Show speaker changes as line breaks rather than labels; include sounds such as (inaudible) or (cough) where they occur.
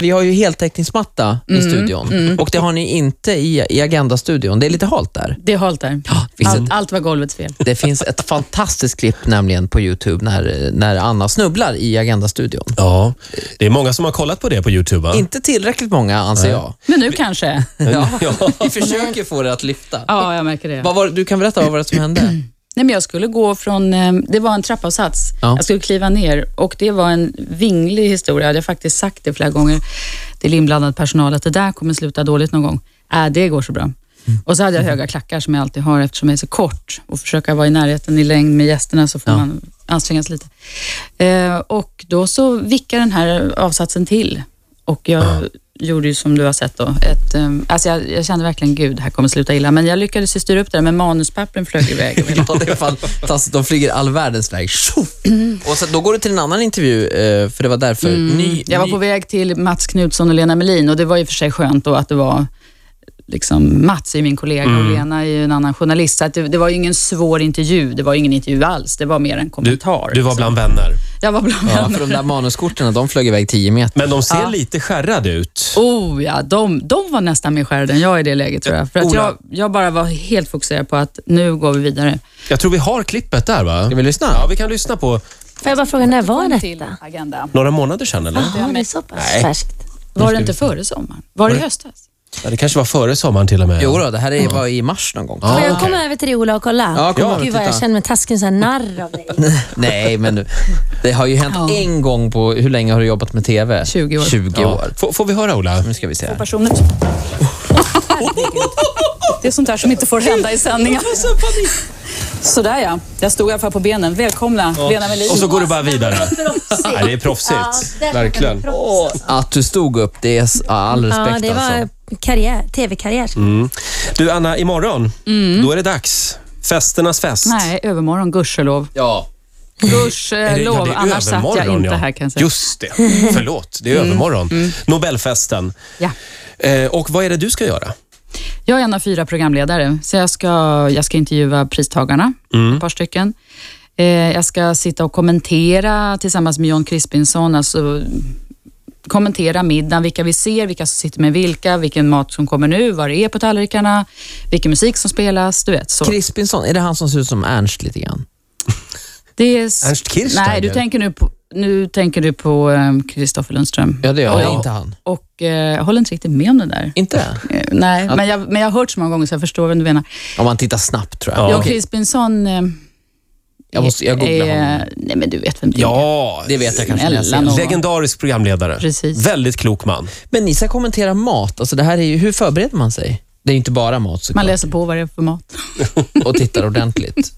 vi har ju heltäckningsmatta i studion och det har ni inte i, i Agenda-studion. Det är lite halt där.
Det är halt där.
finns
Allt, allt var golvets fel.
Det finns ett fantastiskt klipp nämligen på Youtube när, när Anna snubblar i Agenda-studion.
Ja, det är många som har kollat på det på Youtube va?
Inte tillräckligt många anser jag.
Men nu (laughs) kanske.
Ja, vi försöker få det att lyfta.
Ja, jag märker det.
Vad var, det- du kan berätta vad var det som hände.
Nej, men jag skulle gå från, eh, det var en trappavsats.
Ja.
Jag skulle kliva ner och det var en vinglig historia. Jag hade faktiskt sagt det flera gånger till inblandad personal att det där kommer sluta dåligt någon gång. Äh, det går så bra.
Mm.
Och så hade jag höga klackar som jag alltid har eftersom jag är så kort och försöka vara i närheten i längd med gästerna så får
Ja.
man anstränga sig lite. Eh, och då så vickade den här avsatsen till och jag gjorde ju som du har sett då. Ett, eh, alltså jag, jag kände verkligen, gud, det här kommer sluta illa. Men jag lyckades ju styra upp det där, men manuspappren flög iväg. Och hela
Ja, det är fan fantastiskt. De flyger all världens väg. Tjoff! Och sen, då går du till en annan intervju, eh, för det var därför. Ny,
Jag var
ny-
på väg till Mats Knutsson och Lena Melin och det var ju för sig skönt då att det var liksom, Mats är ju min kollega och
Mm.
Lena är ju en annan journalist. Så att det, det var ju ingen svår intervju. Det var ju ingen intervju alls. Det var mer en
Du,
kommentar.
du var
liksom.
bland vänner.
Jag var bland
ja,
vänner.
för de där manuskorten, de flög iväg 10 meter.
Men de ser lite skärrade ut.
Oh ja, de, de var nästan mer skärrade än jag i det läget tror jag. För att
Ola.
jag, jag bara var helt fokuserad på att nu går vi vidare.
Jag tror vi har klippet där va?
Ska vi lyssna?
Ja, vi kan lyssna på
Får jag bara fråga, när var
Till
detta?
agenda.
några månader sedan eller?
Ah.
Jaha, det är så pass färskt.
Var det inte före sommaren? Var det i höstas?
Ja, det kanske var före sommaren till och med.
Jo då, det här är, var i mars någon gång.
Får
Ja,
jag
okej.
komma över till dig Ola och kolla?
Ja, kom över och
Gud vad
titta.
jag känner mig taskig, en sån här narr av dig.
(laughs) Nej, men nu- det har ju hänt
Ja.
en gång på, hur länge har du jobbat med TV?
20 år.
20
Ja.
år. Mm.
Får, får vi höra Ola?
Nu ska vi se. här.
Personer. Det är sånt där som inte får hända i sändningar. Sådär ja, jag stod i alla fall på benen. Välkomna Lena Melin.
Och så går du bara vidare. (laughs) Ja, det är proffsigt.
där-
Verkligen.
Proffs.
Att du stod upp, det är s- ja, all respekt
Ja, det var
alltså.
karriär, tv-karriär.
Mm. Du Anna, imorgon, då är det dags. Festernas fest.
Mm. Nej, övermorgon, gudskelov.
Ja.
Är det- ja,
Gudskelov,
det är
annars satt jag
övermorgon,
inte
ja.
här kan jag säga. Mm.
Just det. Förlåt, det är övermorgon. Nobelfesten.
Ja.
Eh, och vad är det du ska göra?
Jag är en av fyra programledare, så jag ska, jag ska intervjua pristagarna, ett par stycken. Eh, jag ska sitta och kommentera tillsammans med John Crispinson, alltså kommentera middagen, vilka vi ser, vilka som sitter med vilka, vilken mat som kommer nu, vad det är på tallrikarna, vilken musik som spelas, du vet. Så.
Crispinson, är det han som ser ut som Ernst lite grann?
Det är... s-
Ernst Kirchsteiger?
Nej, du tänker nu på, nu tänker du på ehm, Kristoffer Lundström.
Ja, det gör
Ja.
jag. Inte han.
Och eh, jag håller inte riktigt med om det där.
Inte?
Eh, nej, men jag, men jag har hört så många gånger så jag förstår vem du menar.
Om man tittar snabbt tror jag.
Ja.
John
Okej,
Crispinson... Eh,
Jag måste- jag googlar
är-
honom.
Nej, men du vet vem det är.
Ja,
Det vet jag kanske. när jag ser
Snälla
det.
någon.
legendarisk programledare.
Precis.
Väldigt klok man.
Men ni ska kommentera mat. Alltså det här är ju, hur förbereder man sig? Det är ju inte bara mat såklart.
Man läser på vad det är för mat.
och tittar ordentligt.